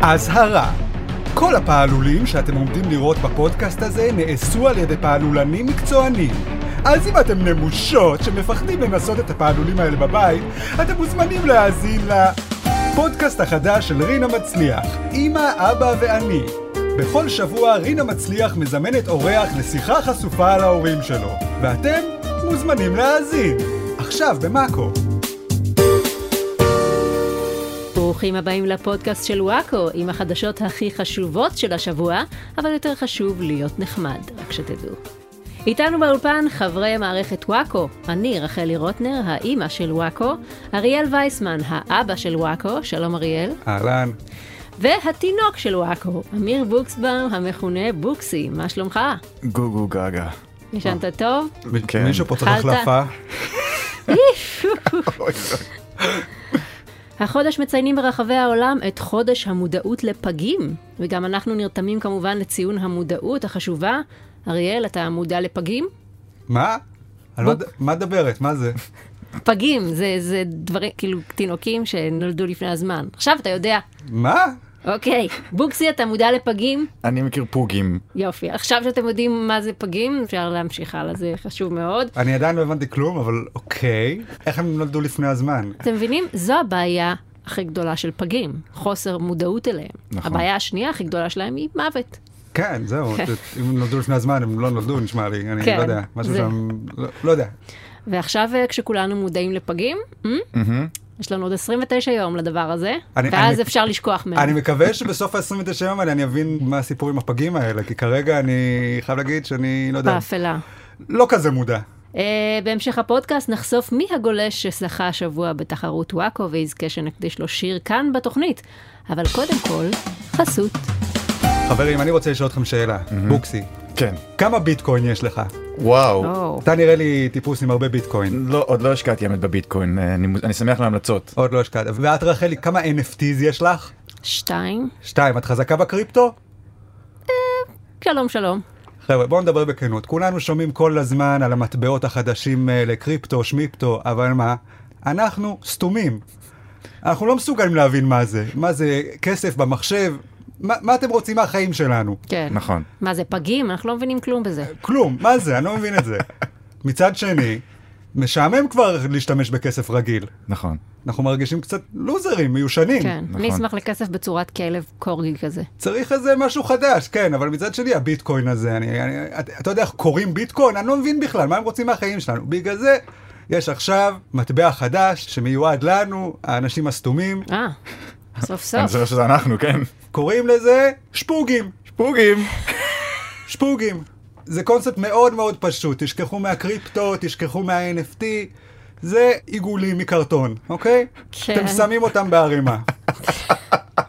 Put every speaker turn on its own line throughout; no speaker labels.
אזהרה כל הפעלולים שאתם עומדים לראות בפודקאסט הזה נעשו על ידי פעלולנים מקצוענים. אז אם אתם נמושות שמפחדים לנסות את הפעלולים האלה בבית, אתם מוזמנים להאזין לפודקאסט החדש של רינה מצליח, אמא, אבא ואני. בכל שבוע רינה מצליח מזמנת אורח לשיחה חשופה על ההורים שלו, ואתם מוזמנים להאזין. עכשיו במאקו.
ברוכים הבאים לפודקאסט של וואקו, עם החדשות הכי חשובות של השבוע, אבל יותר חשוב להיות נחמד, רק שתדעו. איתנו באולפן חברי מערכת וואקו, אני רחלי רוטנר, האימא של וואקו, אריאל וייסמן, האבא של וואקו, שלום אריאל,
אהלן.
והתינוק של וואקו, אמיר בוקסבאום, המכונה בוקסי, מה שלומך?
גוגו גגה.
ישנת טוב?
כן.
מישהו פה צריך
התחלת?
החלפה?
החודש מציינים ברחבי העולם את חודש המודעות לפגים, וגם אנחנו נרתמים כמובן לציון המודעות החשובה. אריאל, אתה מודע לפגים?
מה? על מה ד- מה מדברת? מה זה?
פגים, זה, זה דברים, כאילו, תינוקים שנולדו לפני הזמן. עכשיו אתה יודע.
מה?
אוקיי, בוקסי, אתה מודע לפגים?
אני מכיר פוגים.
יופי. עכשיו שאתם יודעים מה זה פגים, אפשר להמשיך הלאה, זה חשוב מאוד.
אני עדיין לא הבנתי כלום, אבל אוקיי. איך הם נולדו לפני הזמן?
אתם מבינים? זו הבעיה הכי גדולה של פגים, חוסר מודעות אליהם.
נכון.
הבעיה השנייה הכי גדולה שלהם היא מוות.
כן, זהו. אם הם נולדו לפני הזמן, הם לא נולדו, נשמע לי. אני
כן,
לא יודע. משהו
זה- כן.
שם... לא- לא יודע.
ועכשיו אה, כשכולנו מודעים לפגים, אה? יש לנו עוד 29 יום לדבר הזה,
אני-
ואז
אני-
אפשר לשכוח מהם.
אני מקווה שבסוף ה-29 יום האלה אני אבין מה הסיפור עם הפגים האלה, כי כרגע אני חייב להגיד שאני לא יודע.
באפלה.
לא כזה מודע.
אה, בהמשך הפודקאסט נחשוף מי הגולש שזכה השבוע בתחרות וואקו ויזכה שנקדיש לו שיר כאן בתוכנית. אבל קודם כל, חסות.
חברים, אני רוצה לשאול אתכם שאלה. בוקסי,
כן.
כמה ביטקוין יש לך?
וואו.
או,
אתה נראה לי טיפוס עם הרבה ביטקוין.
לא, עוד לא השקעתי האמת בביטקוין, אה, אני מוז- אני שמח להמלצות.
עוד לא השקעת. ואת רחלי, כמה NFTs יש לך?
שתיים.
שתיים, את חזקה בקריפטו?
שלום, שלום.
חבר'ה, בואו נדבר בכנות. כולנו שומעים כל הזמן על המטבעות החדשים האלה, קריפטו, שמיפטו, אבל מה? אנחנו סתומים. אנחנו לא מסוגלים להבין מה זה. מה זה כסף במחשב? מה, מה אתם רוצים מהחיים שלנו?
כן.
נכון.
מה זה, פגים? אנחנו לא מבינים כלום
אה,
בזה.
כלום, מה זה? אני לא מבין את זה. מצד שני, משעמם כבר להשתמש בכסף רגיל.
נכון.
אנחנו מרגישים קצת לוזרים, מיושנים.
כן.
נכון.
אני אשמח לכסף בצורת כלב קורגי כזה.
צריך איזה משהו חדש, כן, אבל מצד שני הביטקוין הזה, אני, אני, אתה, אתה יודע איך קוראים ביטקוין? אני לא מבין בכלל, מה הם רוצים מהחיים שלנו? בגלל זה יש עכשיו מטבע חדש שמיועד לנו, האנשים הסתומים,
אה, סוף
אני
סוף.
זוכר שזה אנחנו, כן.
קוראים לזה שפוגים,
פוגים.
שפוגים. זה קונספט מאוד מאוד פשוט, תשכחו מהקריפטו, תשכחו מה-NFT, זה עיגולים מקרטון, אוקיי?
כן.
אתם שמים אותם בערימה.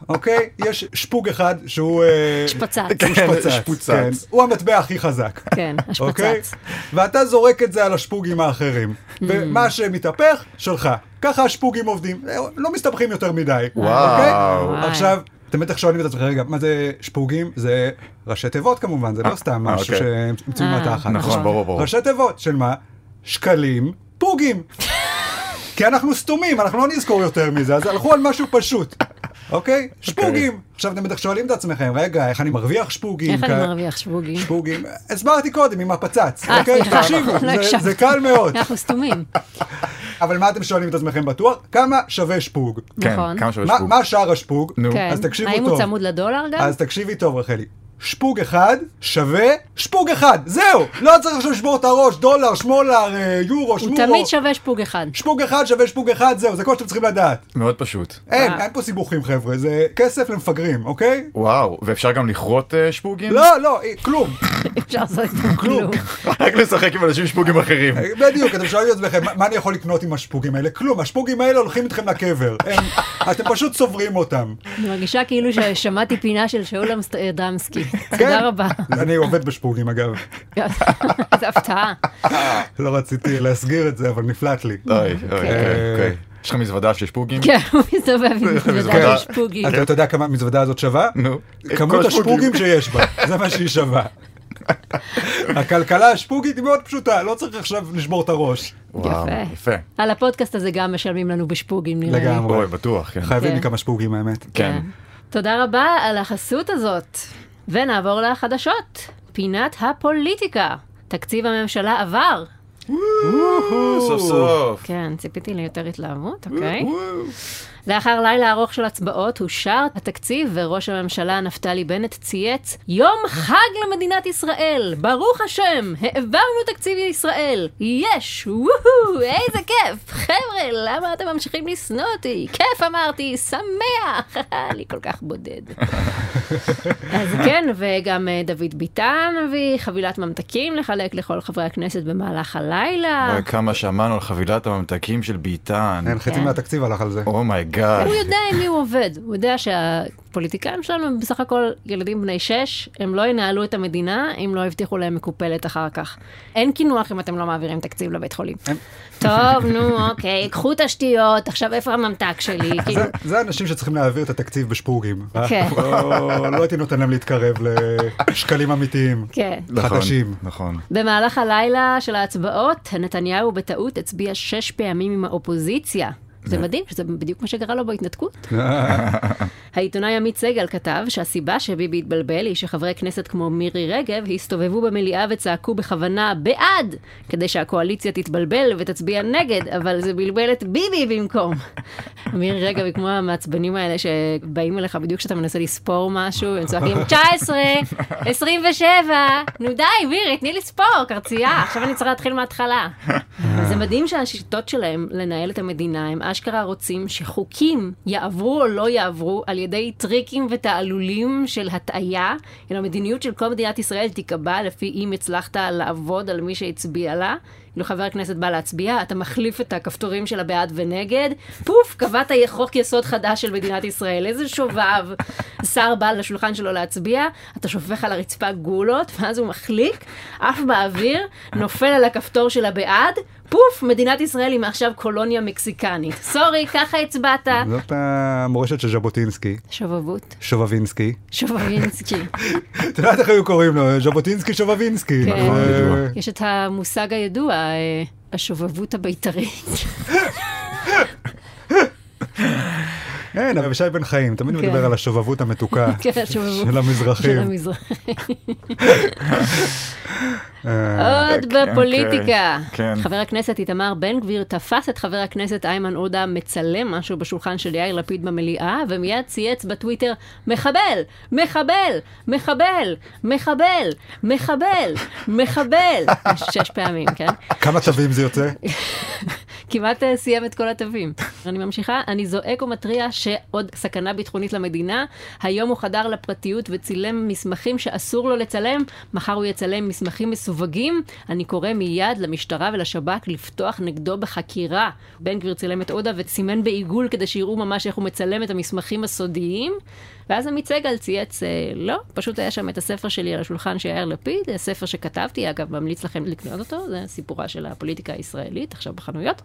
אוקיי? יש שפוג אחד שהוא... אה,
שפצץ.
כן,
שפוצץ,
שפוצץ.
כן. הוא המטבע הכי חזק.
כן,
אוקיי?
השפצץ.
ואתה זורק את זה על השפוגים האחרים. ומה שמתהפך, שלך. ככה השפוגים עובדים. לא מסתבכים יותר מדי.
וואו.
וואי.
אוקיי? עכשיו, אתם בטח שואלים את עצמכם, רגע, מה זה שפוגים? זה ראשי תיבות כמובן, זה לא סתם
אה,
משהו
אוקיי.
שהמצאו
אה,
מהתחת.
נכון, ברור, ברור.
ראשי תיבות של מה? שקלים, פוגים. כי אנחנו סתומים, אנחנו לא נזכור יותר מזה, אז הלכו על משהו פשוט. אוקיי? שפוגים. עכשיו אתם בטח שואלים את עצמכם, רגע, איך אני מרוויח שפוגים?
איך אני
כ-
מרוויח שבוגים?
שפוגים, הסברתי קודם עם הפצץ,
אה,
אוקיי?
סליחה,
תקשיבו,
לא
זה-
הקשבתי. כן.
זה קל מאוד.
אנחנו סתומים,
אבל מה אתם שואלים את עצמכם בטוח? כמה שווה שפוג?
כן,
נכון.
כמה שווה
מה-
שפוג.
מה שער השפוג?
נו.
כן.
אז תקשיבו
האם הוא
טוב.
צמוד לדולר גם?
אז תקשיבי טוב, רחלי. שפוג אחד שווה שפוג אחד, זהו! לא צריך עכשיו לשבור את הראש, דולר, שמולר, אה, יורו,
הוא
שמורו.
תמיד שווה שפוג אחד.
שפוג אחד שווה שפוג אחד, זהו, זה כל שאתם צריכים לדעת.
מאוד פשוט.
אין,
אה.
אין פה סיבוכים חבר'ה, זה כסף למפגרים, אוקיי?
וואו, ואפשר גם לכרות אה, שפוגים?
לא, לא, אה, כלום.
אפשר לעשות כאילו. איתו כלום.
רק לשחק עם אנשים שפוגים אחרים.
בדיוק, אתם שואלים את עצמכם, "מה- מה אני יכול לקנות עם השפוגים האלה? כלום, השפוגים האלה הולכים איתכם לקבר. הם, אתם פשוט צוברים אותם.
אני מרגישה כאילו ששמעתי פינה של שאול אמסט- אה, דמסקי.
כן.
תודה רבה.
אני עובד בשפוגים אגב.
זו הפתעה.
לא רציתי להסגיר את זה, אבל נפלט לי.
אוי, אוי, אוקיי, אוקיי.
כן.
יש לך מזוודה של שפוגים?
כן, הוא מסתובב עם
מזוודה.
מזוודה של שפוגי.
אתה אתה יודע כמה המזוודה הזאת שווה?
נו.
כמות
כל השפוגים.
השפוגים שיש בה, זה מה שהיא שווה. הכלכלה השפוגית היא מאוד פשוטה, לא צריך עכשיו לשבור את הראש.
וואו,
יפה.
יפה.
על הפודקאסט הזה גם משלמים לנו בשפוגים נראה לי.
לגמרי.
אוי, בטוח, כן.
חייבים לי
כן.
כמה שפוגים האמת.
כן.
תודה רבה על החסות הזאת. ונעבור לחדשות. פינת הפוליטיקה. תקציב הממשלה עבר.
סוף סוף.
כן, ציפיתי ליותר התלהבות, אוקיי.
אה,
לאחר לילה ארוך של הצבעות אושר התקציב, וראש הממשלה נפתלי בנט צייץ: יום חג למדינת ישראל! ברוך השם! העברנו תקציב לישראל! יש! וואו! איזה כיף! חבר'ה, למה אתם ממשיכים לשנוא אותי? כיף אמרתי! שמח! אני כל כך בודד. אז כן, וגם אה, דוד ביטן הביא חבילת ממתקים לחלק לכל חברי הכנסת במהלך הלילה.
וואי, כמה שמענו על חבילת הממתקים של ביטן.
אין, חצי
כן.
מהתקציב הלך על זה.
Oh אומייגאד.
הוא יודע עם מי הוא עובד, הוא יודע שהפוליטיקאים שלנו הם בסך הכל ילדים בני שש, הם לא ינהלו את המדינה אם לא יבטיחו להם מקופלת אחר כך. אין קינוח אם אתם לא מעבירים תקציב לבית חולים. טוב, נו, אוקיי, קחו תשתיות, עכשיו איפה הממתק שלי? כאילו,
זה- זה אנשים שצריכים להעביר את התקציב בשפורגים. אה?
כן.
לא- לא הייתי נותן להם להתקרב לשקלים אמיתיים.
כן.
חדשים.
נכון.
במהלך הלילה של ההצבעות, נתניהו בטעות הצביע שש פעמים עם האופוזיציה. זה מדהים, שזה בדיוק מה שקרה לו בהתנתקות. העיתונאי עמית סגל כתב שהסיבה שביבי התבלבל היא שחברי כנסת כמו מירי רגב הסתובבו במליאה וצעקו בכוונה בעד, כדי שהקואליציה תתבלבל ותצביע נגד, אבל זה בלבל את ביבי במקום. מירי רגב היא כמו המעצבנים האלה שבאים אליך בדיוק כשאתה מנסה לספור משהו, הם צועקים 19, 27, נו די מירי, תני לספור, קרצייה, עכשיו אני צריכה להתחיל מההתחלה. זה מדהים שהשיטות שלהם לנהל את המדינה, הם אשכרה רוצים שחוקים יעברו או לא יעברו על ידי טריקים ותעלולים של הטעיה, אלא המדיניות של כל מדינת ישראל תיקבע לפי אם הצלחת לעבוד על מי שהצביע לה. אילו חבר הכנסת בא להצביע, אתה מחליף את הכפתורים של הבעד ונגד, פוף, קבעת חוק יסוד חדש של מדינת ישראל, איזה שובב. שר בא לשולחן שלו להצביע, אתה שופך על הרצפה גולות, ואז הוא מחליק, עף באוויר, נופל על הכפתור של הבעד, פוף, מדינת ישראל היא מעכשיו קולוניה מקסיקנית. סורי, ככה הצבעת.
זאת המורשת של ז'בוטינסקי,
שובבות,
שובבינסקי.
שובבינסקי.
את יודעת איך היו קוראים לו? ז'בוטינסקי שובבינסקי.
כן.
נכון,
זה-
בדיוק.
יש את המושג הידוע, אה, השובבות הבית"רית.
אין, אבל שי בן חיים תמיד
כן.
מדבר על השובבות המתוקה
כן, השובבות.
של
של
המזרחים.
המזרח.
אה,
עוד
אוקיי,
בפוליטיקה.
כן.
חבר הכנסת איתמר בן גביר תפס את חבר הכנסת איימן עודה מצלם משהו בשולחן של יאיר לפיד במליאה, ומיד צייץ בטוויטר, מחבל, מחבל, מחבל, מחבל, מחבל, מחבל. שש פעמים, כן?
כמה תווים זה יוצא?
כמעט אה, סיים את כל התווים. אני ממשיכה, אני זועק ומתריע שעוד סכנה ביטחונית למדינה. היום הוא חדר לפרטיות וצילם מסמכים שאסור לו לצלם, מחר הוא יצלם מסמכים מסווגים. אני קורא מיד למשטרה ולשב"כ לפתוח נגדו בחקירה. בן גביר צילם את עודה וסימן בעיגול כדי שיראו ממש איך הוא מצלם את המסמכים הסודיים. ואז עמית סגל צייץ, אה, לא, פשוט היה שם את הספר שלי על השולחן של יאיר לפיד, אה, ספר שכתבתי, אגב, ממליץ לכם לקנות אותו, זה סיפורה של הפוליטיקה הישראלית, עכשיו בחנויות,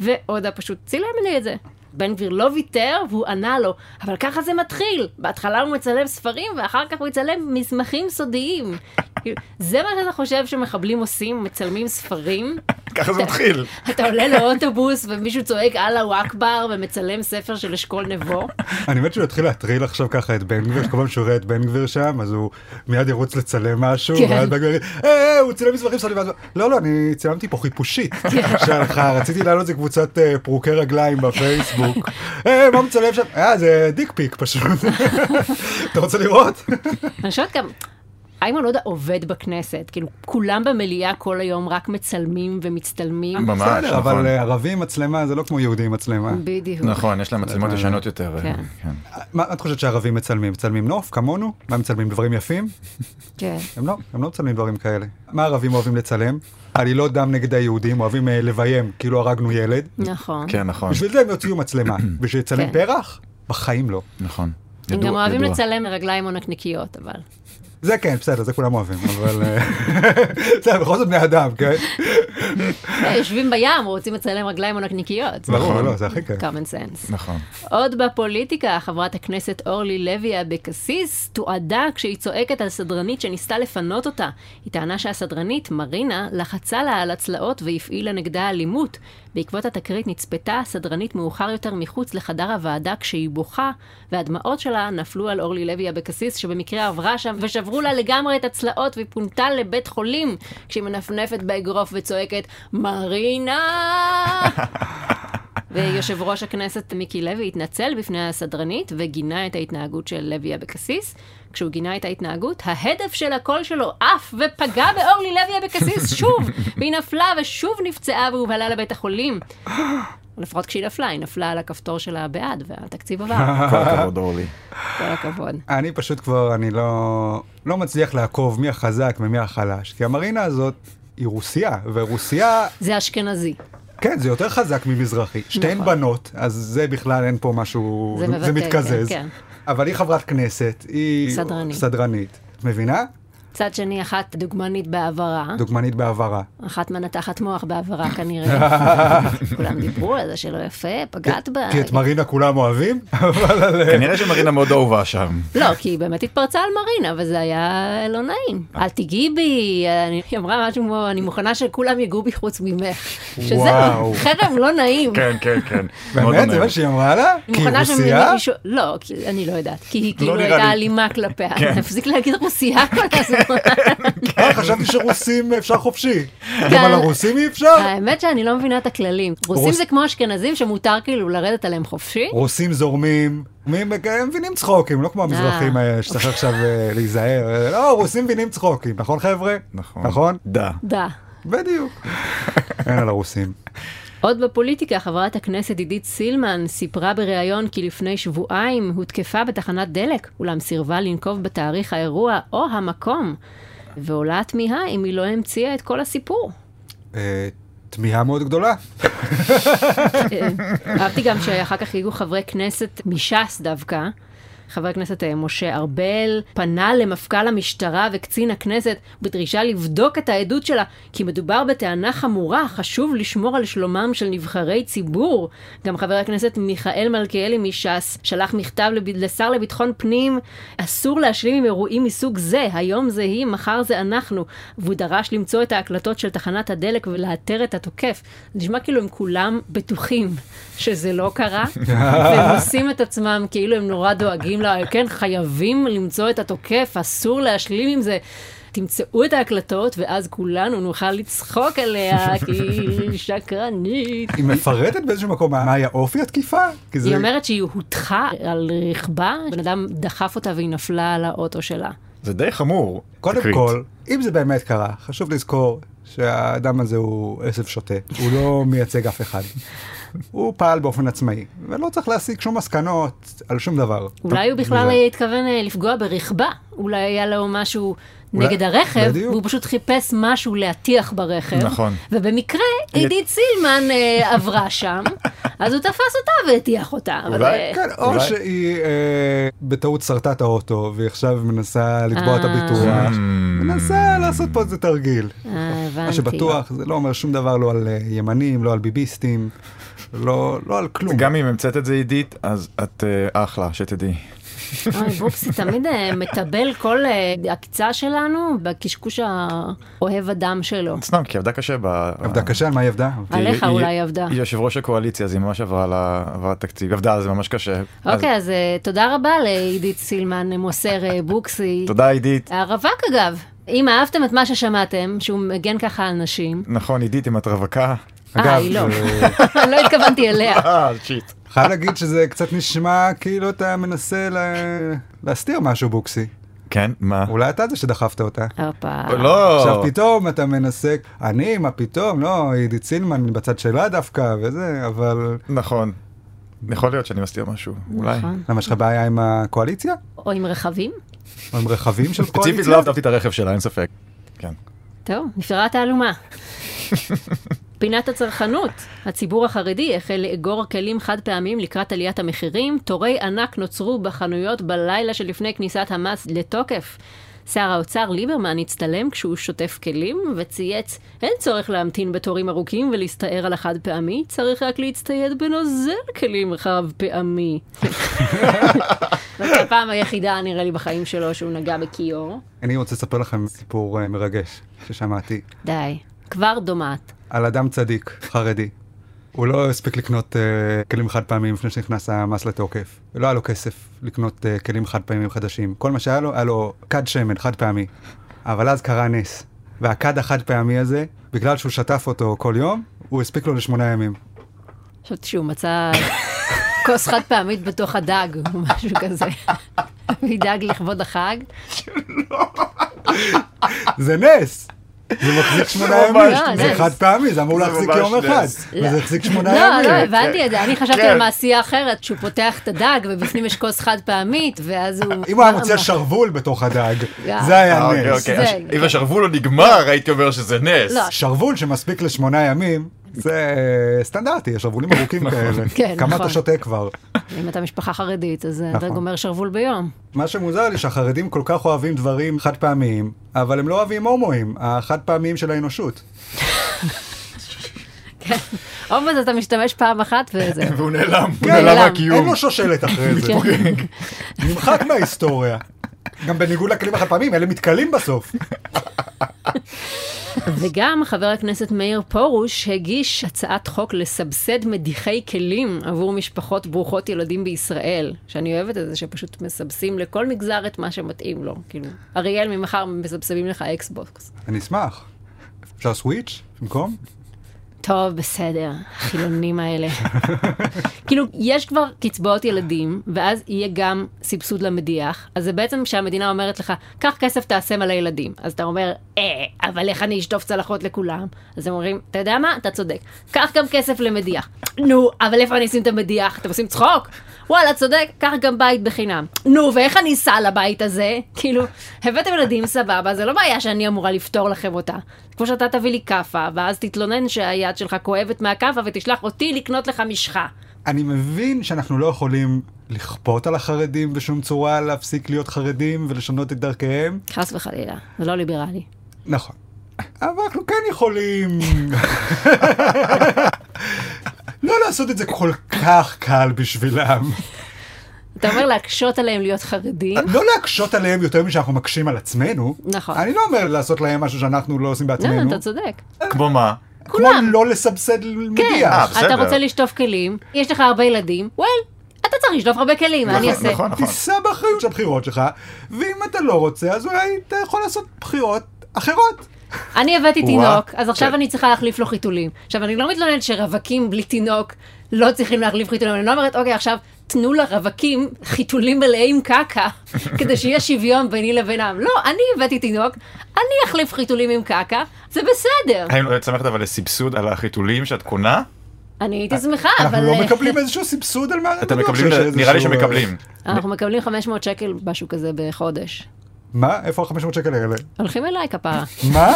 ועודה פשוט צילם לי את זה. בן גביר לא ויתר, והוא ענה לו, אבל ככה זה מתחיל. בהתחלה הוא מצלם ספרים, ואחר כך הוא יצלם מסמכים סודיים. כאילו, זה מה שאתה חושב שמחבלים עושים, מצלמים ספרים?
ככה זה מתחיל.
אתה עולה לאוטובוס ומישהו צועק אללהו אכבר ומצלם ספר של אשכול נבו?
אני מת שהוא יתחיל להטריל עכשיו ככה את בן גביר, שכל פעם שהוא רואה את בן גביר שם, אז הוא מיד ירוץ לצלם משהו,
כן.
ואז בן גביר יגיד, "אה, אה, הוא צילם מסמכים שלי, ואז הוא, לא, לא, אני צילמתי פה חיפושית שלך, רציתי לעלות איזה קבוצת אה, פרוקי רגליים בפייסבוק. אה, מה מצלם שם? אה, זה דיק פיק פשוט. אתה רוצה לראות?
אני חושבת גם, איימן עודה עובד בכנסת, כאילו כולם במליאה כל היום רק מצלמים ומצטלמים.
ממש,
בסדר, אבל
נכון.
אה, ערבים מצלמה זה לא כמו יהודים מצלמה.
בדיוק.
נכון, יש להם
לא
מצלמות ישנות יותר.
כן.
כן.
מה מה את חושבת שערבים מצלמים? מצלמים נוף כמונו? מה מצלמים דברים יפים?
כן.
הם לא, הם לא מצלמים דברים כאלה. מה ערבים אוהבים לצלם? עלילות דם נגד היהודים, אוהבים אה, לביים כאילו הרגנו ילד.
נכון.
כן, נכון.
בשביל זה הם יוציאו מצלמה. בשביל לצלם
כן.
פרח? בחיים לא.
נכון.
הם
ידוע-
גם אוהבים
ידוע.
לצלם רגליים או נקניקיות, אבל.
זה כן, בסדר, זה כולם אוהבים, אבל... אה, בסדר, בכל זאת בני אדם, כן?
אה, יושבים בים, רוצים לצלם רגליים או נקניקיות. זה
ברור, לא, זה הכי כיף.
common sense.
נכון.
עוד בפוליטיקה, חברת הכנסת אורלי לוי אבקסיס תועדה כשהיא צועקת על סדרנית שניסתה לפנות אותה. היא טענה שהסדרנית, מרינה, לחצה לה על הצלעות והפעילה נגדה אלימות. בעקבות התקרית נצפתה הסדרנית מאוחר יותר מחוץ לחדר הוועדה כשהיא בוכה, והדמעות שלה נפלו על אורלי לוי אבקסיס, שבמקרה עברה שם ושברו לה לגמרי את הצלעות והיא פונתה לבית חולים כשהיא מנפנפת באגרוף וצועקת, מרינה! ויושב ראש הכנסת מיקי לוי התנצל בפני הסדרנית וגינה את ההתנהגות של לוי אבקסיס. כשהוא גינה את ההתנהגות, ההדף של הקול שלו עף ופגע באורלי לוי אבקסיס שוב, והיא נפלה ושוב נפצעה והובהלה לבית החולים. לפחות כשהיא נפלה, היא נפלה על הכפתור שלה בעד, והתקציב עבר.
כל הכבוד, אורלי.
כל הכבוד.
אני פשוט כבר, אני לא, לא מצליח לעקוב מי החזק ומי החלש, כי המרינה הזאת היא רוסיה, ורוסיה,
זה אשכנזי.
כן, זה יותר חזק ממזרחי. שתיהן
נכון.
בנות, אז זה בכלל אין פה משהו,
זה מבטא,
זה מתקזז.
כן, כן.
אבל היא חברת כנסת, היא
סדרנית. אה.
סדרנית. את מבינה?
מצד שני, אחת דוגמנית בעברה,
דוגמנית בעברה.
אחת מנתחת מוח בעברה כנראה. כולם דיברו על זה שלא יפה, פגעת בה.
כי את מרינה כולם אוהבים, אבל על...
כנראה שמרינה מאוד אהובה שם.
לא, כי היא באמת התפרצה על מרינה, וזה היה לא נעים. אל תיגעי בי, אני- היא אמרה משהו כמו, אני מוכנה שכולם ייגעו בי חוץ ממך. שזהו,
וואו.
חרם לא נעים.
כן, כן, כן. מאוד לא
באמת, זה
נעים.
מה שהיא אמרה לה?
אני
כי היא
מוכנה
רוסיה?
שמישהו... לא, כי- אני לא יודעת. כי היא כאילו
נראה
הייתה
לי.
אלימה כלפיה.
כן.
תפסיק להגיד רוסיה כל הזמן.
אה, חשבתי שרוסים אפשר חופשי.
כן.
גם על הרוסים אי אפשר?
האמת שאני לא מבינה את הכללים. רוסים
רוס-
זה כמו אשכנזים שמותר כאילו לרדת עליהם חופשי.
רוסים זורמים, מי מק- הם מבינים צחוקים, לא
אה.
כמו המזרחים האלה שצריך עכשיו אה, להיזהר. אה, לא, רוסים מבינים צחוקים, נכון חבר'ה?
נכון.
נכון?
דה.
דה.
בדיוק. אין על הרוסים.
עוד בפוליטיקה, חברת הכנסת עידית סילמן סיפרה בריאיון כי לפני שבועיים הותקפה בתחנת דלק, אולם סירבה לנקוב בתאריך האירוע או המקום. ועולה תמיהה אם היא לא המציאה את כל הסיפור.
אה, תמיהה מאוד גדולה.
אה, אהבתי גם שאחר כך הגיעו חברי כנסת מש"ס דווקא. חבר הכנסת אה, משה ארבל פנה למפכ"ל המשטרה וקצין הכנסת בדרישה לבדוק את העדות שלה, כי מדובר בטענה חמורה, חשוב לשמור על שלומם של נבחרי ציבור. גם חבר הכנסת מיכאל מלכיאלי מש"ס שלח מכתב לב... לשר לביטחון פנים, אסור להשלים עם אירועים מסוג זה, היום זה היא, מחר זה אנחנו. והוא דרש למצוא את ההקלטות של תחנת הדלק ולאתר את התוקף. זה נשמע כאילו הם כולם בטוחים שזה לא קרה, והם עושים את עצמם כאילו הם נורא דואגים, לה, כן, חייבים למצוא את התוקף, אסור להשלים עם זה. תמצאו את ההקלטות, ואז כולנו נוכל לצחוק עליה, כי היא שקרנית.
היא מפרטת באיזשהו מקום מה מה היה אופי התקיפה? כי זה-
היא אומרת שהיא הוטחה על רכבה, בן אדם דחף אותה והיא נפלה על האוטו שלה.
זה די חמור.
קודם
תקרית.
כל, אם זה באמת קרה, חשוב לזכור שהאדם הזה הוא עשב שוטה, הוא לא מייצג אף אחד. הוא פעל באופן עצמאי, ולא צריך להסיק שום מסקנות על שום דבר.
אולי הוא בכלל
זה-
היה התכוון אה, לפגוע ברכבה, אולי היה לו משהו
אולי-
נגד הרכב,
בדיוק.
והוא פשוט חיפש משהו להטיח ברכב.
נכון.
ובמקרה עידית סילמן אה, עברה שם, אז הוא תפס אותה והטיח אותה. אבל,
אולי,
אה,
כן, או
אולי-
שהיא אה, בטעות סרטה את האוטו, והיא עכשיו מנסה לתבוע את
אה.
Mm.
הביטוח.
Hmm.
מנסה לעשות פה איזה תרגיל.
אה,
מה
הבנתי.
שבטוח, זה לא אומר שום דבר לא על אה, ימנים, לא על ביביסטים, לא לא על כלום.
גם אם המצאת את זה עידית, אז את אה, אחלה, שתדעי.
אוי, בופסי תמיד אה, מטבל כל אה, עקיצה שלנו בקשקוש האוהב אדם שלו.
סתם, כי היא עבדה קשה ב...
עבדה קשה, על מה היא עבדה?
כי היא-
עליך
היא-
אולי היא עבדה.
היא יושב ראש הקואליציה, אז היא ממש עברה על ה- עברה תקציב. היא עבדה על זה ממש קשה.
אוקיי,
אז-
אז אה, תודה רבה לעידית סילמן, מוסר אה, בוקסי.
תודה עידית.
הרווק אגב. אם אהבתם את מה ששמעתם, שהוא מגן ככה על נשים,
נכון, עידית, אם את רווקה.
אה, היא לא.
אה,
לא התכוונתי אליה.
אה, שיט.
חייב להגיד שזה קצת נשמע כאילו אתה מנסה לה- להסתיר משהו בוקסי.
כן, מה?
אולי אתה זה שדחפת אותה.
הופה.
עכשיו
לא.
פתאום אתה מנסה, אני, מה פתאום, לא, עידית סילמן היא בצד שלה דווקא וזה, אבל...
נכון. יכול להיות שאני מסתיר משהו, אולי.
נכון.
למה יש לך בעיה עם הקואליציה?
או עם רכבים?
או עם רכבים של
ספציפית
קואליציה?
לא אהבתי את הרכב שלה, אין ספק. כן.
טוב, נפתרה התעלומה. פינת הצרכנות, הציבור החרדי החל לאגור כלים חד פעמים לקראת עליית המחירים, תורי ענק נוצרו בחנויות בלילה שלפני כניסת המס לתוקף. שר האוצר ליברמן הצטלם כשהוא שוטף כלים וצייץ, אין צורך להמתין בתורים ארוכים ולהסתער על החד פעמי, צריך רק להצטייד בנוזל כלים רב פעמי. זאת הפעם היחידה, נראה לי, בחיים שלו שהוא נגע בכיור.
אני רוצה לספר לכם סיפור אה, מרגש ששמעתי
די, כבר דומעת.
על אדם צדיק, חרדי. הוא לא הספיק לקנות uh, כלים חד פעמים לפני שנכנס המס לתוקף. לא היה לו כסף לקנות uh, כלים חד פעמים חדשים. כל מה שהיה לו, היה לו כד שמן חד פעמי. אבל אז קרה נס. והכד החד פעמי הזה, בגלל שהוא שטף אותו כל יום, הוא הספיק לו לשמונה ימים.
חשבתי שהוא מצא כוס חד פעמית בתוך הדג, או משהו כזה. וידאג לכבוד החג.
זה נס! זה מחזיק שמונה
ממש
לא,
ימים, זה
נס.
חד פעמי, זה אמור
זה
להחזיק
ממש
יום אחד,
נס.
וזה החזיק
לא,
שמונה
לא,
ימים.
הבנתי את זה. אני חשבתי
כן.
על מעשייה אחרת, שהוא פותח את הדג ובפנים יש כוס חד פעמית, ואז הוא...
אם הוא היה מוצא שרוול בתוך הדג,
יאללה.
זה
אה,
היה
אוקיי,
נס.
אוקיי.
זה,
הש-
כן.
אם השרוול לא נגמר, הייתי אומר שזה נס.
לא.
שרוול שמספיק לשמונה ימים, זה אה, סטנדרטי, יש שרוולים ארוכים כאלה.
כן,
כמה
נכון.
אתה שותה כבר.
אם אתה משפחה חרדית, אז אתה
נכון.
גומר שרוול ביום.
מה שמוזר לי שהחרדים כל כך אוהבים דברים חד פעמיים, אבל הם לא אוהבים הומואים, החד פעמיים של האנושות.
כן. עובד, אתה משתמש פעם אחת וזהו.
והוא נעלם, הוא
כן,
נעלם
נעלם.
אין
מהקיום.
לו שושלת אחרי זה.
כן.
נמחק מההיסטוריה. גם בניגוד לכלים החד פעמים, אלה מתכלים בסוף.
וגם חבר הכנסת מאיר פרוש הגיש הצעת חוק לסבסד מדיחי כלים עבור משפחות ברוכות ילדים בישראל, שאני אוהבת את זה שפשוט מסבסים לכל מגזר את מה שמתאים לו. כאילו, אריאל, ממחר מסבסבים לך אקסבוקס.
אני אשמח. אפשר סוויץ' במקום?
טוב, בסדר, החילונים האלה. כאילו, יש כבר קצבאות ילדים, ואז יהיה גם סבסוד למדיח, אז זה בעצם כשהמדינה אומרת לך, קח כסף תעשה מלא ילדים. אז אתה אומר, אה, אבל איך אני אשטוף צלחות לכולם? אז הם אומרים, אתה יודע מה? אתה צודק. קח גם כסף למדיח. נו, אבל איפה אני אשים את המדיח? אתם עושים צחוק? וואלה, צודק, קח גם בית בחינם. נו, ואיך אני אסע לבית הזה? כאילו, הבאתם ילדים, סבבה, זה לא בעיה שאני אמורה לפתור לכם אותה. כמו שאתה תביא לי כאפה, ואז תתלונן שהיד שלך כואבת מהכאפה ותשלח אותי לקנות לך משחה.
אני מבין שאנחנו לא יכולים לכפות על החרדים בשום צורה להפסיק להיות חרדים ולשנות את דרכיהם.
חס וחלילה, זה לא ליברלי.
נכון. אבל אנחנו כן יכולים לא לעשות את זה כל כך קל בשבילם.
אתה אומר להקשות עליהם להיות חרדים?
אה,
לא להקשות עליהם יותר משאנחנו מקשים על עצמנו.
נכון.
אני לא אומר לעשות להם משהו שאנחנו לא עושים
לא,
בעצמנו.
אתה צודק.
כמו מה?
כמו
כולם.
לא לסבסד
כן,
מדיח.
בסדר.
אתה רוצה לשטוף כלים, יש לך הרבה ילדים, וול, אתה צריך לשטוף הרבה כלים, מה אני
נכון,
אעשה?
נכון, נכון.
תישא באחריות של הבחירות שלך, ואם אתה לא רוצה, אז אולי אתה יכול לעשות בחירות אחרות.
אני הבאתי
וואה.
תינוק, אז עכשיו
כן.
אני צריכה להחליף לו חיתולים. עכשיו, אני לא מתלוננת שרווקים בלי תינוק לא צריכים להחליף חיתולים, אני לא אומרת, אוקיי, עכשיו תנו לרווקים חיתולים מלאים קקה, כדי שיהיה שוויון ביני לבינם. לא, אני הבאתי תינוק, אני אחליף חיתולים עם קקה, זה בסדר.
האם לא היית שמחת אבל לסבסוד על החיתולים שאת קונה?
אני הייתי שמחה, אבל...
אנחנו לא
אה,
מקבלים איזשהו סבסוד על מה...
אתם
אני בטוח
מקבלים,
שיש
נראה לי
איזשהו- אה,
שמקבלים.
אה, אנחנו מקבלים 500 שקל, משהו כזה, בחודש.
מה? איפה ה-500 שקל האלה?
הולכים אליי כפרה.
מה?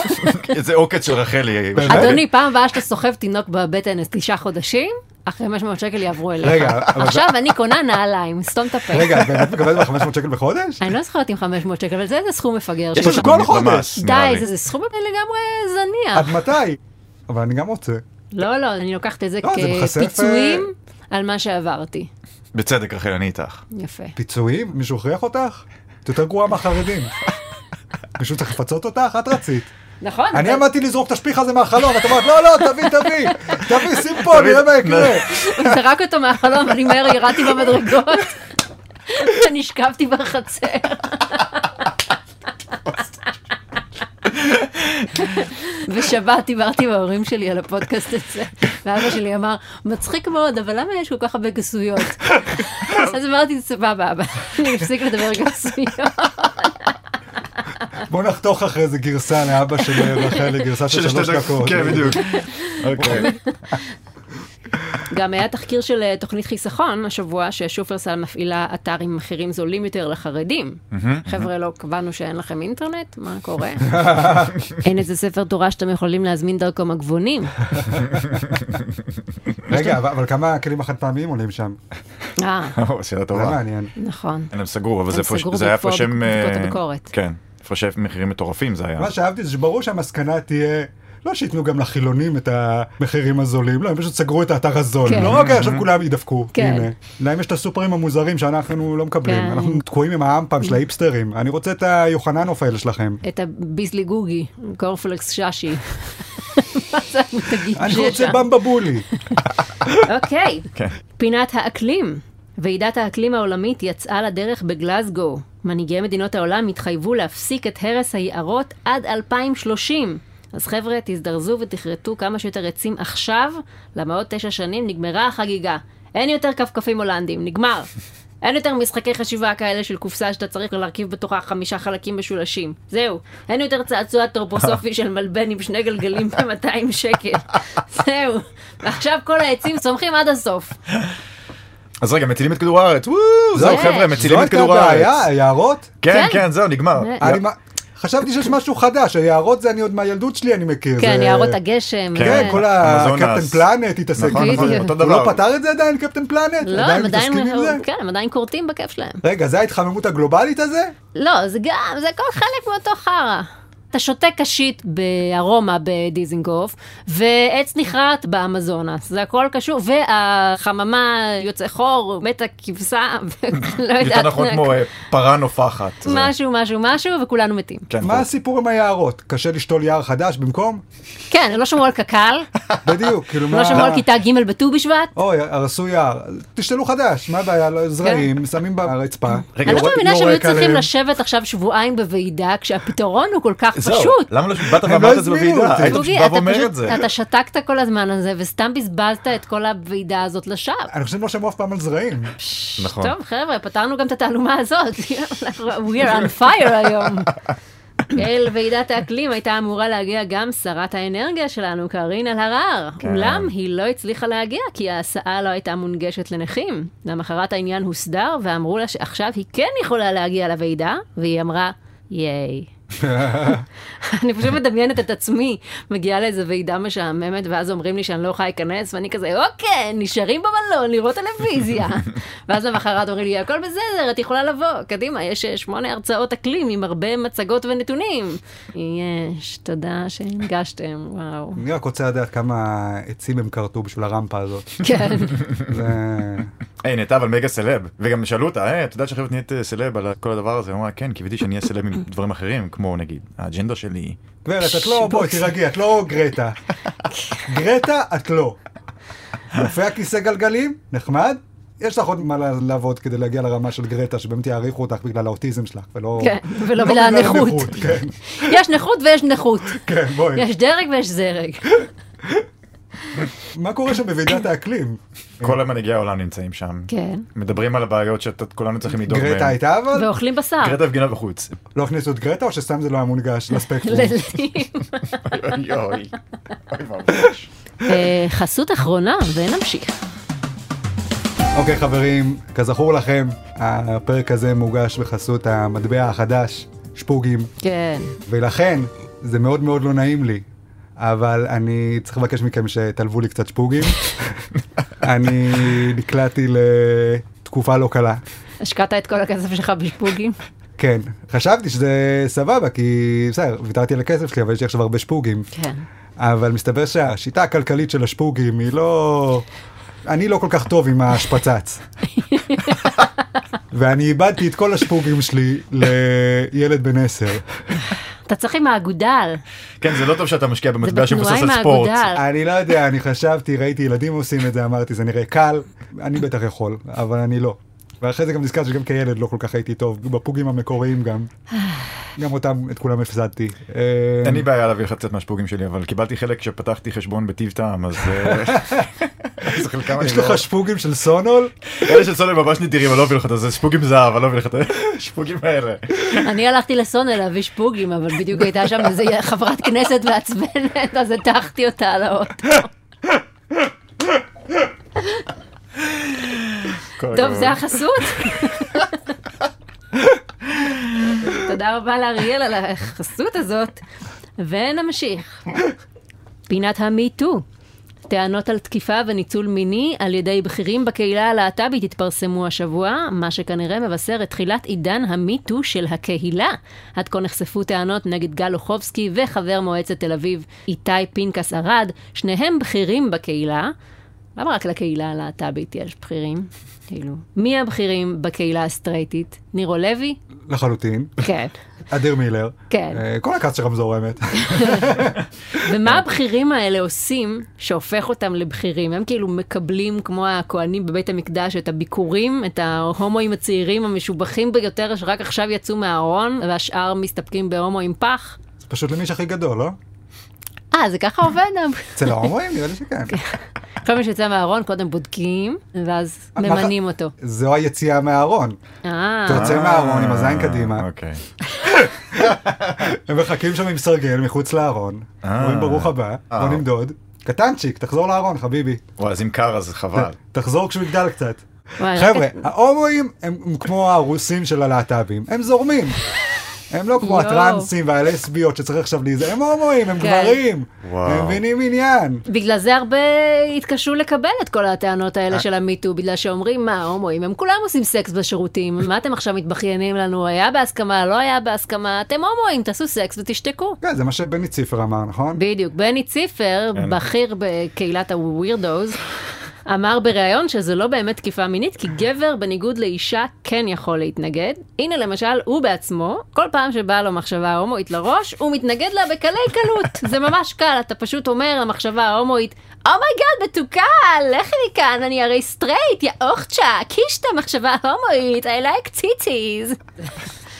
זה עוקץ של רחלי.
באמת?
אדוני, פעם הבאה שאתה סוחב תינוק בבטן אז תשעה חודשים, אחרי 500 שקל יעברו אליך.
רגע, אבל-
עכשיו אני קונה נעליים, סתום את הפה.
רגע, את באמת מקבלת 500 שקל בחודש?
אני לא זוכרת אם 500 שקל, אבל זה איזה סכום מפגר.
יש
של-
פשוט
לך
כל
במס,
חודש.
נראה
די,
לי.
זה- זה סכום לגמרי
עד
זניח.
מתי? אבל אני גם רוצה.
לא, לא, אני לוקחת את זה
לא, זה מחשף,
כפיצויים על מה שעברתי.
בצדק רחל, אני איתך.
יפה.
פיצויים? מישהו הכריח אותך? את יותר גרועה מהחרדים. מישהו צריך לפצות אותך? את רצית.
נכון.
אני
אבל-
עמדתי לזרוק את השפיך הזה מהחלום, את אומרת, לא, לא, תביא, תביא, תביא, שים פה, נראה מה יקרה.
הוא זרק אותו מהחלום, אני מהר ירדתי במדרגות. ונשכבתי בחצר. בשבת דיברתי עם ההורים שלי על הפודקאסט הזה, ואבא שלי אמר, מצחיק מאוד, אבל למה יש כל כך הרבה גסויות? אז אמרתי, סבבה, אבא, אני אפסיק לדבר גסויות.
בוא נחתוך אחרי זה גרסה לאבא של רחלי, גרסה של שלוש דקות.
כן, בדיוק. אוקיי.
גם היה תחקיר של אה, תוכנית חיסכון השבוע, ששופרסל מפעילה אתר עם מחירים זולים יותר לחרדים. חבר'ה, לא קבענו שאין לכם אינטרנט? מה קורה? אין איזה ספר תורה שאתם יכולים להזמין דרכו מגבונים.
רגע, אבל- אבל כמה הכלים החד פעמיים עולים שם?
אה,
שאלה
זה
טובה.
אוקיי. מעניין.
נכון.
הם סגרו, אבל
הם
זה איפה ש-
סגרו
זה היה איפה
בעקבות-
שהם...
בעקבות
אה,
הביקורת.
כן. הפרשי מחירים מטורפים זה
כן.
היה.
מה שאהבתי זה שברור שהמסקנה תהיה... לא שייתנו גם לחילונים את המחירים הזולים, לא, הם פשוט סגרו את האתר הזול.
כן.
לא, אוקיי, עכשיו כולם יידפקו.
כן.
הנה. להם יש את הסופרים המוזרים שאנחנו לא מקבלים.
כן. Mm-hmm.
אנחנו תקועים עם האמפם של ההיפסטרים. אני רוצה את היוחננוף האלה שלכם.
את הביזלי גוגי, קורנפלקס ששי. מה זה המותגים
אני
שיש
רוצה
שם?
במבבולי.
אוקיי.
כן.
פינת האקלים. ועידת האקלים העולמית יצאה לדרך בגלזגו. מנהיגי מדינות העולם התחייבו להפסיק את הרס היערות עד 2030. אז חבר'ה, תזדרזו ותכרתו כמה שיותר עצים עכשיו, למה עוד תשע שנים נגמרה החגיגה. אין יותר כפכפים הולנדים, נגמר. אין יותר משחקי חשיבה כאלה של קופסה שאתה צריך להרכיב בתוכה חמישה חלקים משולשים. זהו. אין יותר צעצוע טרופוסופי של מלבן עם שני גלגלים ב-200 שקל. זהו. ועכשיו כל העצים צומחים עד הסוף.
אז רגע, מצילים את כדור הארץ, וואו, זהו
זה.
חבר'ה, מצילים
זו
את
הייתה
כדור
הבעיה,
הארץ.
היערות?
כן,
כן.
כן, זהו, נגמר.
זה-
יא-
אני מה- חשבתי שיש משהו חדש, היערות זה אני עוד מהילדות שלי אני מכיר.
כן,
זה-
יערות הגשם. אה,
כן,
כן,
כל
המזונס.
הקפטן פלנט התעסק.
נכון,
עם
נכון,
זה.
בדיוק.
אותו
הוא לא
דבר.
פתר את זה עדיין, קפטן פלנט?
לא, הם עדיין,
מתעסקים עם זה?
כן, הם עדיין כורתים בכיף שלהם.
רגע, זה ההתחממות הגלובלית הזה?
לא, זה גם, זה כל חלק מאותו חרא. אתה שותה קשית בארומה בדיזינגוף, ועץ נכרת באמזונס, זה הכל קשור, והחממה יוצא חור, מתה כבשה, ולא יודעת,
יותר נכון כמו אה, פרה נופחת. זה-
משהו, משהו, משהו, וכולנו מתים.
כן,
מה הסיפור עם היערות? קשה לשתול יער חדש במקום?
כן, הם לא שמעו על קק"ל,
בדיוק, כאילו
הם לא
מה... אוקיי,
שמעו על כיתה ג' בט"ו בשבט,
אוי, הרסו יער. תשתלו חדש, מה הבעיה? לא, זרעים, שמים ברצפה.
רגע,
כן. אני לא
יורק-
מאמינה שהם היו
יורק
צריכים
עליהם.
לשבת עכשיו שבועיים בוועידה, כשהפתרון הוא כל כך
זהו,
פשוט.
למה לא באת
הם לא
ואמרת את זה
הזמינו
בוועידה?
אותי.
היית
בוגי,
בא
אתה
ואומר
פשוט-
את זה.
אתה שתקת כל הזמן הזה, וסתם בזבזת את כל הוועידה הזאת לשווא.
אני חושב שהם לא שמעו אף פעם על זרעים.
נכון.
טוב, חבר'ה, פתרנו גם את התעלומה הזאת. אנחנו- We are on fire היום. אל ועידת האקלים הייתה אמורה להגיע גם שרת האנרגיה שלנו, קארין אלהרר.
כן.
אולם היא לא הצליחה להגיע, כי ההסעה לא הייתה מונגשת לנכים. למחרת העניין הוסדר, ואמרו לה שעכשיו היא כן יכולה להגיע לוועידה, והיא אמרה, ייי. אני פשוט מדמיינת את עצמי, מגיעה לאיזו ועידה משעממת, ואז אומרים לי שאני לא יכולה להיכנס, ואני כזה, אוקיי, נשארים במלון לראות טלוויזיה. ואז למחרת אומרים לי, הכל בסדר, את יכולה לבוא, קדימה, יש אה, שמונה הרצאות אקלים עם הרבה מצגות ונתונים. יש, תודה שהנגשתם, וואו.
אני רק רוצה לדעת כמה עצים הם כרתו בשביל הרמפה הזאת.
כן,
זה-
היי, היא נהייתה אבל מגה סלב. וגם שאלו אותה, היי, את יודעת שעכשיו את נהיית אה, סלב על כל הדבר הזה? היא אמרה, כן, קיוויתי שאני אהיה סלב עם דברים אחרים, כמו נגיד, האג'נדה שלי.
גברת, את לא, בואי, תירגעי, את לא גרטה. גרטה, את לא. יפה הכיסא גלגלים, נחמד. יש לך עוד מה ל- לעבוד כדי להגיע לרמה של גרטה, שבאמת יעריכו אותך בגלל האוטיזם שלך, ולא...
כן, ולא
לא
בגלל הנכות.
כן,
יש נכות ויש נכות.
כן, בואי.
יש דרג ויש זרג.
מה קורה שם בוועידת האקלים?
כל המנהיגי העולם נמצאים שם.
כן.
מדברים על הבעיות שכולנו צריכים לדאוג בהן.
גרטה הייתה אבל?
ואוכלים בשר.
גרטה הפגינה בחוץ.
לא הכניסו את גרטה או שסתם זה לא היה מונגש לספקטרום?
אוי אוי אוי. אוי ואבוי.
אה, חסות אחרונה, ונמשיך.
אוקיי חברים, כזכור לכם, הפרק הזה מוגש בחסות המטבע החדש, שפוגים,
כן.
ולכן זה מאוד מאוד לא נעים לי, אבל אני צריך לבקש מכם שתלוו לי קצת שפוגים. אני נקלעתי לתקופה לא קלה.
השקעת את כל הכסף שלך בשפוגים?
כן, חשבתי שזה סבבה, כי בסדר, ויתרתי על הכסף שלי, אבל יש לי עכשיו הרבה שפוגים.
כן.
אבל מסתבר שהשיטה הכלכלית של השפוגים היא לא... אני לא כל כך טוב עם השפצץ. ואני איבדתי את כל השפוגים שלי לילד בן עשר.
אתה צריך עם האגודל.
כן, זה לא טוב שאתה משקיע
זה
במטבע שמבוסס
בתנועה
על
עם
ספורט.
האגודל.
אני לא יודע, אני חשבתי, ראיתי ילדים עושים את זה, אמרתי, זה נראה קל, אני בטח יכול, אבל אני לא. ואחרי זה גם נזכרתי שגם כילד לא כל כך הייתי טוב, בפוגים המקוריים גם. גם אותם, את כולם הפסדתי. אה,
אין לי בעיה להביא לך קצת מהשפוגים שלי, אבל קיבלתי חלק כשפתחתי חשבון בטיב טעם, אז... אה, אז חלקם אני
יש
לא-
לך שפוגים של סונול?
אלה של סולר ממש נדירים, אני לא אביא לך את זה, זה שפוגים זהב, אני לא אביא לך את השפוגים האלה.
אני הלכתי לסונה להביא שפוגים, אבל בדיוק הייתה שם איזו חברת כנסת מעצבנת, אז הטחתי אותה על האוטו.
כל
טוב,
הכבוד.
זה החסות? תודה רבה לאריאל על החסות הזאת, ונמשיך. פינת המיטו. טענות על תקיפה וניצול מיני על ידי בכירים בקהילה הלהט"בית התפרסמו השבוע, מה שכנראה מבשר את תחילת עידן המיטו של הקהילה. עד כה נחשפו טענות נגד גל אוחובסקי וחבר מועצת תל אביב איתי פנקס ארד, שניהם בכירים בקהילה. למה רק לקהילה הלהט"בית יש בכירים? כאילו, מי הבכירים בקהילה הסטרייטית? נירו לוי?
לחלוטין.
כן.
אדיר מילר.
כן.
אה, כל הכעס של רמזור האמת.
ומה הבכירים האלה עושים שהופך אותם לבכירים? הם כאילו מקבלים, כמו הכוהנים בבית המקדש, את הביקורים, את ההומואים הצעירים המשובחים ביותר, שרק עכשיו יצאו מהארון, והשאר מסתפקים בהומו עם פח?
זה פשוט למי שהכי גדול, לא?
אה, זה ככה עובד?
אצל ההומואים נראה לי שכן.
כן. כל מי שיוצא מהארון קודם בודקים, ואז
מה-
ממנים אותו.
זו היציאה מהארון.
אה,
אתה יוצא מהארון עם הזין קדימה.
אוקיי.
הם מחכים שם עם סרגל מחוץ לארון.
אה.
אומרים ברוך הבא,
אה.
בוא נמדוד. קטנצ'יק, תחזור לארון, חביבי.
וואי, אז אם קר אז חבל.
תחזור כשהוא יגדל קצת.
וואי,
חבר'ה,
אה, רק-
ההומואים הם כמו הרוסים של הלהט"בים, הם זורמים. הם לא כמו
יואו.
הטרנסים והלסביות שצריך עכשיו להיזהר, הם הומואים, הם
כן.
גברים,
וואו.
הם מבינים עניין.
בגלל זה הרבה התקשו לקבל את כל הטענות האלה של המיטו, בגלל שאומרים, מה, הומואים, הם כולם עושים סקס בשירותים, מה אתם עכשיו מתבכיינים לנו, היה בהסכמה, לא היה בהסכמה, אתם הומואים, תעשו סקס ותשתקו.
כן, זה מה שבני ציפר אמר, נכון?
בדיוק, בני ציפר,
כן.
בכיר בקהילת הווירדוז, אמר בריאיון שזה לא באמת תקיפה מינית, כי גבר בניגוד לאישה כן יכול להתנגד. הנה למשל, הוא בעצמו, כל פעם שבאה לו מחשבה הומואית לראש, הוא מתנגד לה בקלי קלות. זה ממש קל, אתה פשוט אומר למחשבה ההומואית, אומייגאד, מתוקה, לכי מכאן, אני הרי סטרייט, יא אוכצ'ה, קישטה מחשבה הומואית, I like ציציז.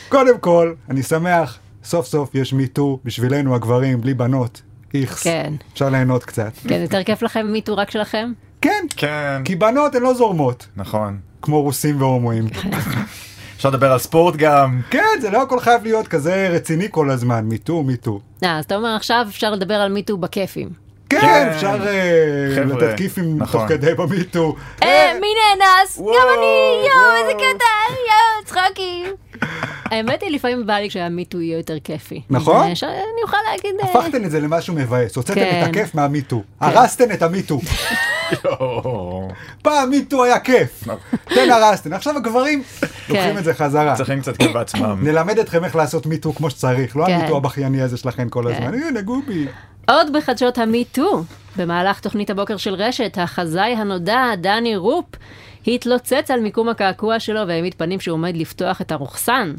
קודם כל, אני שמח, סוף סוף יש מיטו בשבילנו הגברים, בלי בנות, איכס.
כן.
אפשר ליהנות קצת.
כן, יותר כיף לכם מיטו רק שלכם?
כן,
כן,
כי בנות הן לא זורמות,
נכון.
כמו רוסים והומואים.
אפשר לדבר על ספורט גם.
כן, זה לא הכל חייב להיות כזה רציני כל הזמן, מיטו, מיטו.
אה, אז אתה אומר עכשיו אפשר לדבר על מיטו בכיפים.
כן,
כן.
אפשר אה,
חבר'ה,
לתתקיף עם תוך
נכון.
כדי במיטו.
אה, מי נאנס?
וואו,
גם אני! יואו,
וואו.
איזה קטן! יואו, צחוקים! האמת היא, לפעמים בא לי כשהמיטו יהיה יותר כיפי.
נכון.
אז, אה, ש- אני אוכל להגיד... אה,
הפכתם את זה למשהו מבאס, הוצאתם
כן.
את הכיף מהמיטו, הרסתם את המיטו.
יואו.
פעם מיטו היה כיף,
נכון.
כן הרסתם, עכשיו הגברים
כן.
לוקחים את זה חזרה.
צריכים קצת כאב בעצמם.
נלמד אתכם איך לעשות מיטו כמו שצריך, לא
כן.
המיטו הבכייני הזה שלכם כל הזמן, הנה גובי.
עוד בחדשות המיטו, במהלך תוכנית הבוקר של רשת, החזאי הנודע, דני רופ, התלוצץ על מיקום הקעקוע שלו והעמיד פנים שהוא עומד לפתוח את הרוכסן.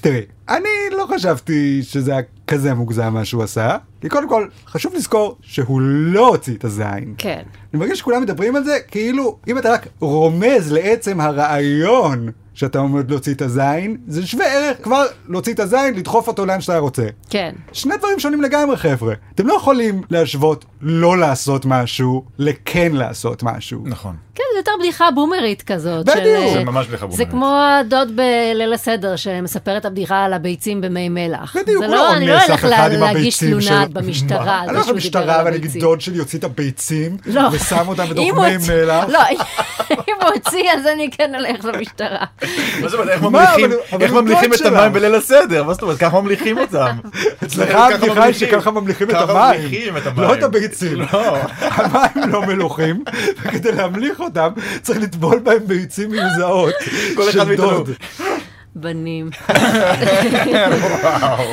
תראי, אני לא חשבתי שזה היה כזה מוגזם מה שהוא עשה, כי קודם כל חשוב לזכור שהוא לא הוציא את הזין.
כן.
אני מרגיש שכולם מדברים על זה כאילו אם אתה רק רומז לעצם הרעיון שאתה עומד להוציא את הזין זה שווה ערך כבר להוציא את הזין לדחוף אותו לאן שאתה רוצה.
כן.
שני דברים שונים לגמרי חבר'ה אתם לא יכולים להשוות לא לעשות משהו לכן לעשות משהו.
נכון.
כן, זה יותר בדיחה בומרית כזאת.
בדיוק.
של, אה,
זה
ממש בדיחה
זה
בומרית.
כמו הדוד בליל הסדר שמספר את הבדיחה על הביצים במי מלח.
בדיוק,
זה
הוא לא
אני לא
אונס
אלך
אף אחד
לה-
עם
להגיש
הביצים
תלונה
שלו.
במשטרה. על
אני לא
זה
הולך
שהוא דיבר על
למשטרה ואני אגיד
הביצים.
דוד שלי יוציא את הביצים
לא.
ושם אותם בתוך
אם הוא
מי
הוציא-
מלח.
לא, אם הוא הוציא אז אני כן אלך למשטרה.
מה זאת אומרת, איך
מה,
ממליכים-
אבל הוא- אבל
איך
הוא
ממליכים
דוד
את המים
שלך.
בליל הסדר? מה זאת אומרת, ככה ממליכים אותם.
אצלך
ככה
הבדיחה היא
ממליכים.
שככה ממליכים את
ככה
המים,
ממליכים את
לא
המים.
את הביצים.
לא.
המים לא מלוכים, וכדי להמליך אותם צריך לטבול בהם ביצים מיוזעות
כל אחד
של
מאיתנו.
דוד.
בנים.
וואו.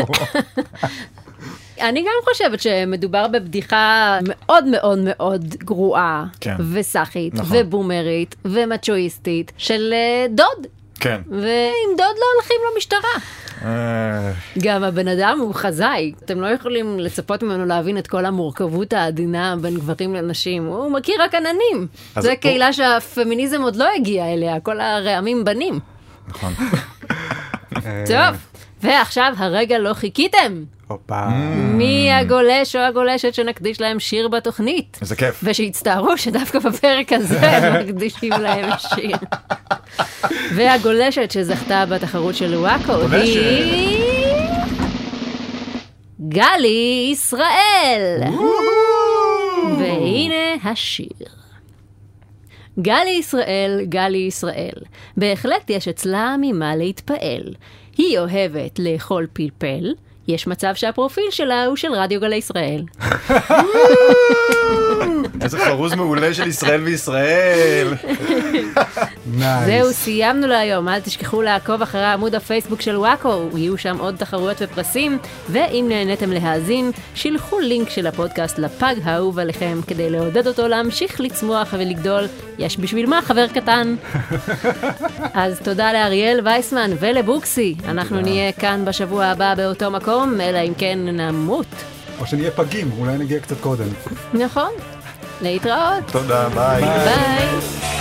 אני גם חושבת שמדובר בבדיחה מאוד מאוד מאוד גרועה,
כן.
וסאחית,
נכון.
ובומרית, ומצ'ואיסטית, של אה, דוד.
כן.
ועם דוד לא הולכים למשטרה.
אה,
גם הבן אדם הוא חזאי, אתם לא יכולים לצפות ממנו להבין את כל המורכבות העדינה בין גברים לנשים, הוא מכיר רק עננים.
אז
זו
הוא-
קהילה שהפמיניזם עוד לא הגיע אליה, כל הרעמים בנים.
נכון.
טוב, ועכשיו הרגע לא חיכיתם.
הופה.
Mm.
מי הגולש או הגולשת שנקדיש להם שיר בתוכנית?
איזה כיף.
ושיצטערו שדווקא בפרק הזה הם מקדישים להם שיר. והגולשת שזכתה בתחרות של וואקו
גולשת.
היא... גלי ישראל! והנה השיר. גלי ישראל, גלי ישראל, בהחלט יש אצלה ממה להתפעל. היא אוהבת לאכול פלפל, יש מצב שהפרופיל שלה הוא של רדיו גלי ישראל.
איזה חרוז מעולה של ישראל וישראל.
נייס.
זהו, סיימנו להיום. אל תשכחו לעקוב אחרי עמוד הפייסבוק של וואקו, יהיו שם עוד תחרויות ופרסים, ואם נהניתם להאזין, שילחו לינק של הפודקאסט לפג האהוב עליכם, כדי לעודד אותו להמשיך לצמוח ולגדול. יש בשביל מה חבר קטן. אז תודה לאריאל וייסמן ולבוקסי. אנחנו נהיה כאן בשבוע הבא באותו מקום, אלא אם כן נמות.
או שנהיה פגים, אולי נגיע קצת קודם.
נכון. להתראות.
תודה, ביי.
ביי.